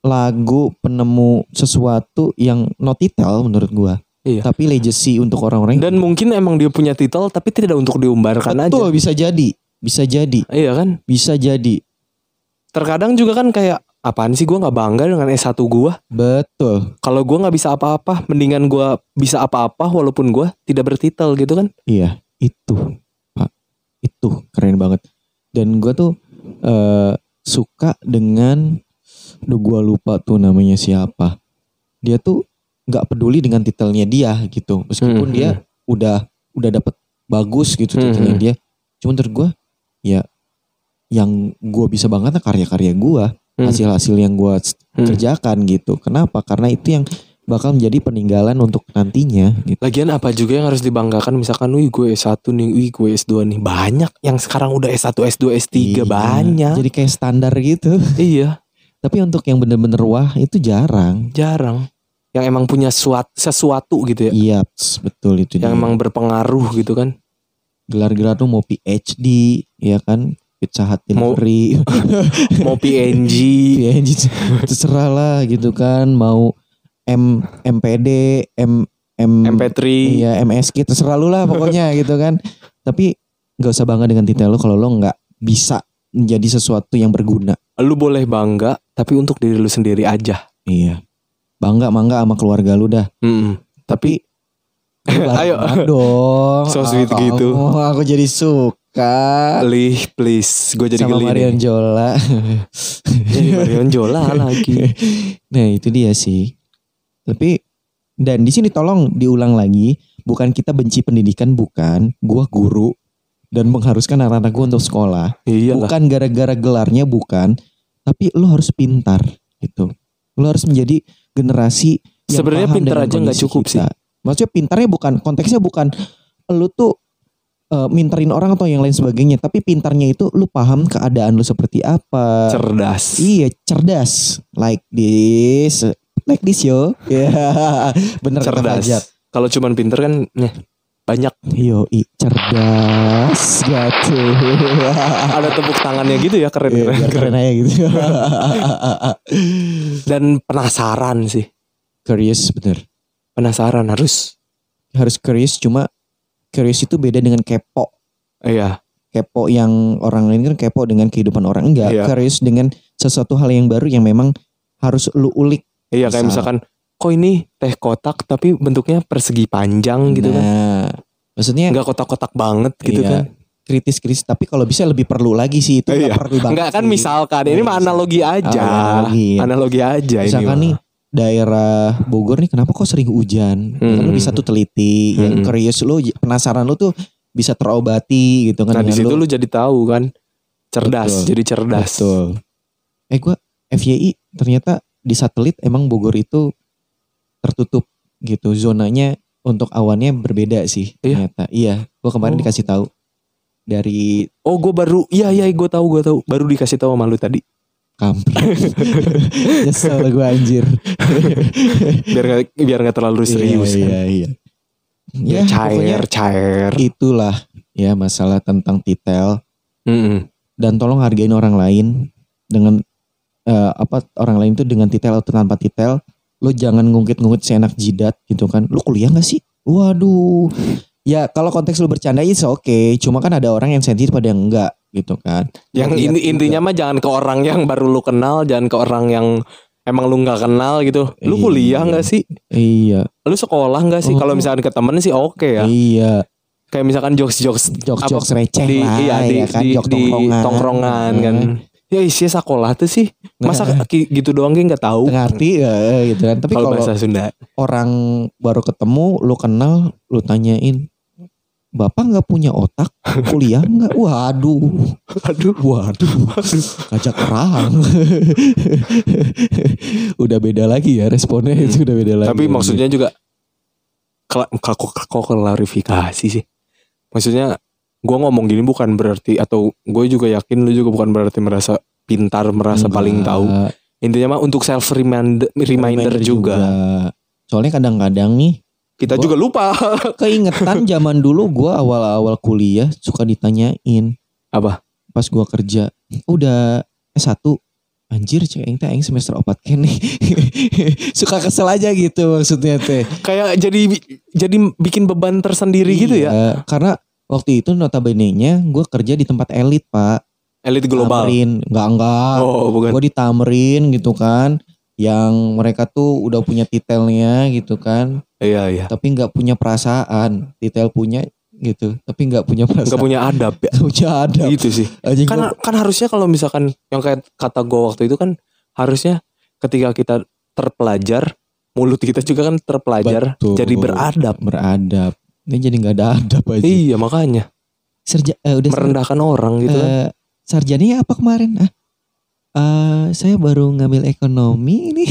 lagu, penemu sesuatu yang notitel menurut gua. Iya. Tapi legacy untuk orang-orang yang dan mungkin emang dia punya titel tapi tidak untuk diumbarkan aja Betul bisa jadi, bisa jadi, iya kan bisa jadi. terkadang juga kan kayak apaan sih gue nggak bangga dengan S1 gue Betul. kalau gue nggak bisa apa-apa mendingan gue bisa apa-apa walaupun gue tidak bertitel gitu kan Iya, itu. Pak, itu keren banget. Dan gua tuh eh, suka dengan Duh gua lupa tuh namanya siapa. Dia tuh nggak peduli dengan titelnya dia gitu. Meskipun Mhm. dia udah udah dapet bagus Mhm. gitu titelnya dia. Cuman menurut gua ya yang gua bisa banget nah karya-karya gua, Mhm. hasil-hasil yang gua Mhm. kerjakan gitu. Kenapa? Karena itu yang bakal menjadi peninggalan untuk nantinya gitu. lagian apa juga yang harus dibanggakan misalkan wih gue S1 nih wih gue S2 nih banyak yang sekarang udah S1 S2 S3 Iya, banyak Jadi kayak standar gitu. iya Tapi untuk yang bener-bener wah itu jarang. jarang yang emang punya suat, sesuatu gitu ya Iya, ps, betul itu. yang dia. emang berpengaruh gitu kan gelar-gelar tuh mau PhD ya kan pizza hut Mau- delivery Iya. mau PNG PhD terserah lah gitu kan mau M MPD M M MP3 iya MSK terserah lu lah pokoknya gitu kan tapi nggak usah bangga dengan titel lu kalau lu nggak bisa menjadi sesuatu yang berguna lu boleh bangga tapi untuk diri lu sendiri aja iya bangga mangga sama keluarga lu dah Mm-mm. tapi Ayo. Ayo dong. So sweet Ah, gitu. kamu, aku jadi suka Lih, Ah. please gue jadi sama geli Marion nih. Jola. jadi Marion Jola lagi nah, itu dia sih. Tapi dan di sini tolong diulang lagi, bukan kita benci pendidikan bukan, gua guru dan mengharuskan anak-anak gua untuk sekolah. iyalah Bukan gara-gara gelarnya bukan, tapi lo harus pintar gitu. Lo harus menjadi generasi yang Sebenarnya paham pintar dengan aja nggak kondisi cukup kita. Maksudnya pintarnya bukan konteksnya bukan lo tuh eh, minterin orang atau yang lain sebagainya, tapi pintarnya itu lo paham keadaan lo seperti apa. cerdas Iya, cerdas. Like this, like this yo. Ya, bener kata Fajar. cerdas kalau cuman pinter kan eh, banyak Yo, i, cerdas gitu. ada tepuk tangannya gitu ya keren, Ah. Iya, keren. biar keren aja gitu. dan penasaran sih curious bener. penasaran harus Harus curious cuma curious itu beda dengan kepo. iya Kepo yang orang lain kan kepo dengan kehidupan orang enggak. Iya. Curious dengan sesuatu hal yang baru yang memang harus lu ulik iya kayak Misal. misalkan kok ini teh kotak tapi bentuknya persegi panjang gitu kan Nah, Eh, maksudnya nggak kotak-kotak banget gitu Iya. kan kritis-kritis tapi kalau bisa lebih perlu lagi sih itu nggak Iya. perlu banget. Enggak kan sih. misalkan ini mah Iya. analogi aja. Ah, analogi, ya. Analogi aja ini. Misalkan mah. nih daerah Bogor nih kenapa kok sering hujan? Ya Kan lu Mm-mm. bisa tuh teliti, yang Mm-mm. curious lu j- penasaran lu tuh bisa terobati gitu Nah, kan di situ dengan lu jadi tahu kan. Cerdas, Betul. jadi cerdas. Betul. Eh gua FYI ternyata di satelit emang Bogor itu tertutup gitu zonanya untuk awannya berbeda Iya. sih ternyata. Iya, gua kemarin Oh. dikasih tahu dari Oh, gue baru iya iya gue tahu gue tahu. Baru dikasih tahu sama lu tadi. kampret. Nyesel gua anjir. Biar gak, biar nggak terlalu serius Iya, kan. iya. iya. Ya, Ya, pokoknya cair, cair. itulah ya masalah tentang titel Mm-mm. dan tolong hargain orang lain dengan eh, apa orang lain itu dengan titel atau tanpa titel lo jangan ngungkit-ngungkit seenak jidat gitu kan lo kuliah gak sih waduh ya kalau konteks lo bercanda itu oke cuma kan ada orang yang sensitif pada yang enggak gitu kan Yang Lihat ini juga. intinya mah jangan ke orang yang baru lu kenal, jangan ke orang yang emang lu nggak kenal gitu. Lu Iya. kuliah nggak sih? iya Lu sekolah nggak sih? Oh. Kalau misalkan ke temen sih oke ya. iya Kayak misalkan jokes-jokes apa- jokes-jokes receh di lah iya di ya kan Hmm. di, jokes di tongkrongan. kan ya isinya sekolah tuh sih masa Nah. ki- gitu doang kayak nggak tahu ngerti ya gitu kan tapi kalau kalau bahasa Sunda orang baru ketemu lu kenal lu tanyain Bapak nggak punya otak, kuliah nggak? Waduh, aduh waduh, ngajak perang. udah beda lagi ya responnya itu udah beda lagi. tapi maksudnya juga kela- kok kok- kok klarifikasi sih maksudnya gua ngomong gini bukan berarti atau gue juga yakin lu juga bukan berarti merasa pintar merasa Enggak. paling tahu intinya mah untuk self remind- reminder, juga. Soalnya kadang-kadang nih kita Gua- juga lupa keingetan zaman dulu gua awal-awal kuliah suka ditanyain Apa? pas gua kerja udah S1 anjir cek aing teh aing semester opat kene suka kesel aja gitu maksudnya teh kayak jadi jadi bikin beban tersendiri gitu ya Iya, karena waktu itu notabene nya gua kerja di tempat elit pak elit global Tamrin enggak enggak oh bukan gua di Tamrin gitu kan yang mereka tuh udah punya titelnya gitu kan iya iya tapi nggak punya perasaan titel punya gitu tapi nggak punya nggak perasaan punya adab ya Gak punya ada gitu sih Anjing kan gua- kan harusnya kalau misalkan yang kayak kata gua waktu itu kan harusnya ketika kita terpelajar mulut kita juga kan terpelajar Betul. jadi beradab beradab. Ini jadi nggak ada adab aja. iya makanya Serja, eh, udah merendahkan orang gitu kan eh, sarjananya apa kemarin? Ah, eh, saya baru ngambil ekonomi ini.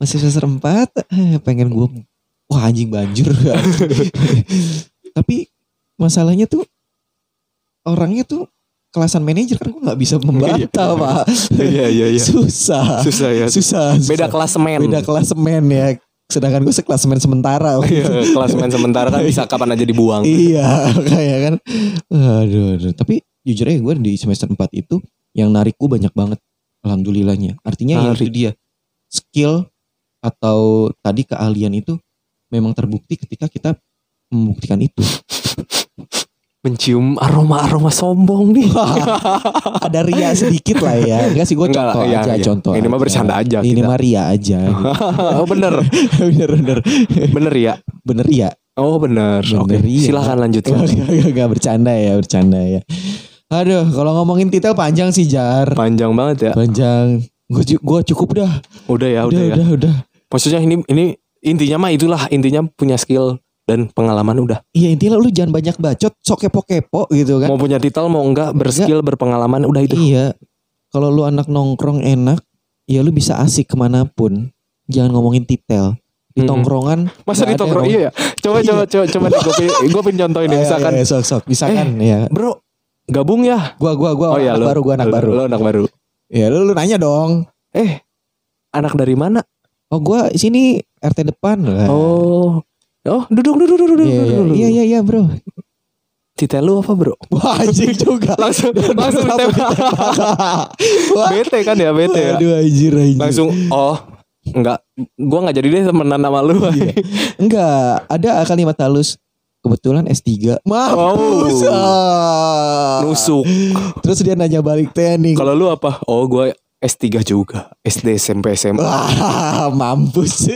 Masih semester 4 Eh, pengen gua wah anjing banjur. Tapi masalahnya tuh orangnya tuh kelasan manajer kan gua nggak bisa membantah pak iya iya susah susah ya Eh. susah beda susah. kelas men beda kelas men ya sedangkan gue sekelasmen sementara kelas main Iya, sementara kan bisa kapan aja dibuang iya kayak kan aduh, aduh. tapi jujur aja gue di semester 4 itu yang narikku banyak banget alhamdulillahnya artinya ya Narik. itu dia skill atau tadi keahlian itu memang terbukti ketika kita membuktikan itu mencium aroma aroma sombong nih ada ria sedikit lah ya enggak sih gue Enggak lah, contoh iya, aja iya. contoh Ini mah aja. bercanda aja ini kita. mah ria aja oh bener bener bener bener ya bener ria oh bener oke Bener ya. silahkan lanjutkan Gak bercanda ya bercanda ya aduh kalau ngomongin titel panjang sih jar panjang banget ya panjang gue gua cukup dah udah ya Ah, udah udah udah ya udah, maksudnya ini ini intinya mah itulah intinya punya skill dan pengalaman udah iya intinya lu jangan banyak bacot sok kepo kepo gitu kan mau punya titel mau enggak berskill berpengalaman udah itu iya kalau lu anak nongkrong enak ya lu bisa asik kemanapun jangan ngomongin titel di Mm-mm. tongkrongan masa nggak ada Iya, ditongkrong yang iya ya coba coba coba coba nih gue pengen, gue pengen contohin nih Ayo, misalkan ayo, sok sok misalkan ya bro gabung ya gua gua gua Eh. iya, Oh, anak lo- baru gua anak lo- baru lo anak baru ya lu, lu nanya dong eh anak dari mana oh gua sini RT depan Lah. oh oh duduk duduk duduk duduk Nah. Iya, duduk, iya, duduk. iya, iya, iya, bro. Cita lu apa bro Wah, anjing juga. langsung langsung ditembak Wah, bete kan ya bete ya Aduh, anjir, anjir. langsung oh enggak gua nggak jadi deh temenan sama lu Iya. Enggak, ada kalimat halus. Kebetulan S3. Wow. Mampus. ah. Oh. nusuk Terus dia nanya balik teknik. kalau lu apa oh gua S3 juga SD SMP SMA Wah, mampus.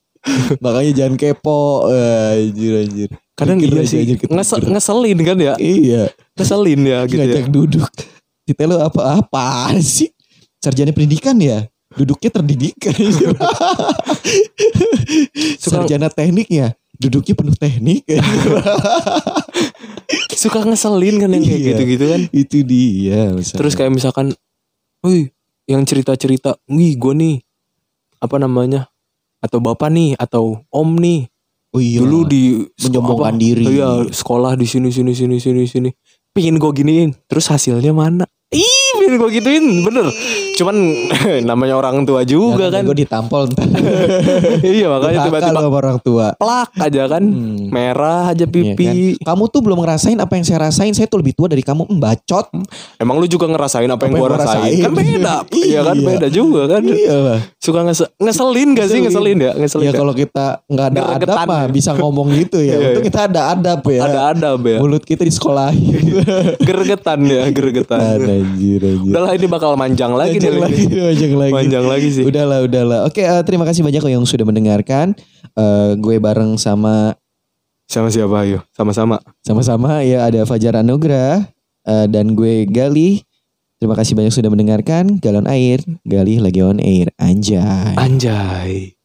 Makanya jangan kepo. Eh, Anjir, anjir. kadang iya Pikir aja, sih anjir, kita Ngese- pikir. ngeselin kan ya Iya, ngeselin ya gitu ya ngajak duduk. Kita lu apa apa sih? Sarjana pendidikan ya? Duduknya terdidik. anjir. Suka- Sarjana teknik ya? Duduknya penuh teknik. suka ngeselin kan yang kayak Iya. gitu-gitu kan Itu dia. misalnya. Terus kayak misalkan, wih, yang cerita-cerita, wih gue nih, apa namanya, atau bapak nih, atau om nih, Oh iya. dulu di Menyombongkan apa, diri. iya sekolah di sini sini sini sini sini, pingin gue giniin, terus hasilnya mana? Ih, pingin gue gituin, bener. Cuman namanya orang tua juga kan, Gue ditampol ntar. iya makanya tiba-tiba sama orang tua. plak aja kan, Hmm. merah aja Iya kan? pipi. Kamu tuh belum ngerasain apa yang saya rasain. Saya tuh lebih tua dari kamu. Hmm, bacot. Emang lu juga ngerasain apa, yang Apa yang gue gua rasain? rasain. Kan beda, iya kan Iya. beda juga kan. Iya lah. Suka ngese- ngeselin gak sih ngeselin ya ngeselin. Ya nggak? kalau kita nggak ada Gregetan adab mah ya. bisa ngomong gitu ya. Iya, Untung iya. kita ada adab ya. ada ada ya Iya, gitu. Mulut kita di sekolah. gergetan ya gergetan anjir, anjir. udahlah ini bakal manjang lagi nih Panjang lagi, panjang lagi. manjang lagi sih Udahlah, udahlah. Oke, eh, terima kasih banyak yang sudah mendengarkan. Eh, gue bareng sama sama siapa ayo sama-sama Sama-sama ya ada Fajar Anugrah eh, dan gue Galih. Terima kasih banyak sudah mendengarkan Galon Air, Galih lagi on air. Anjay. anjay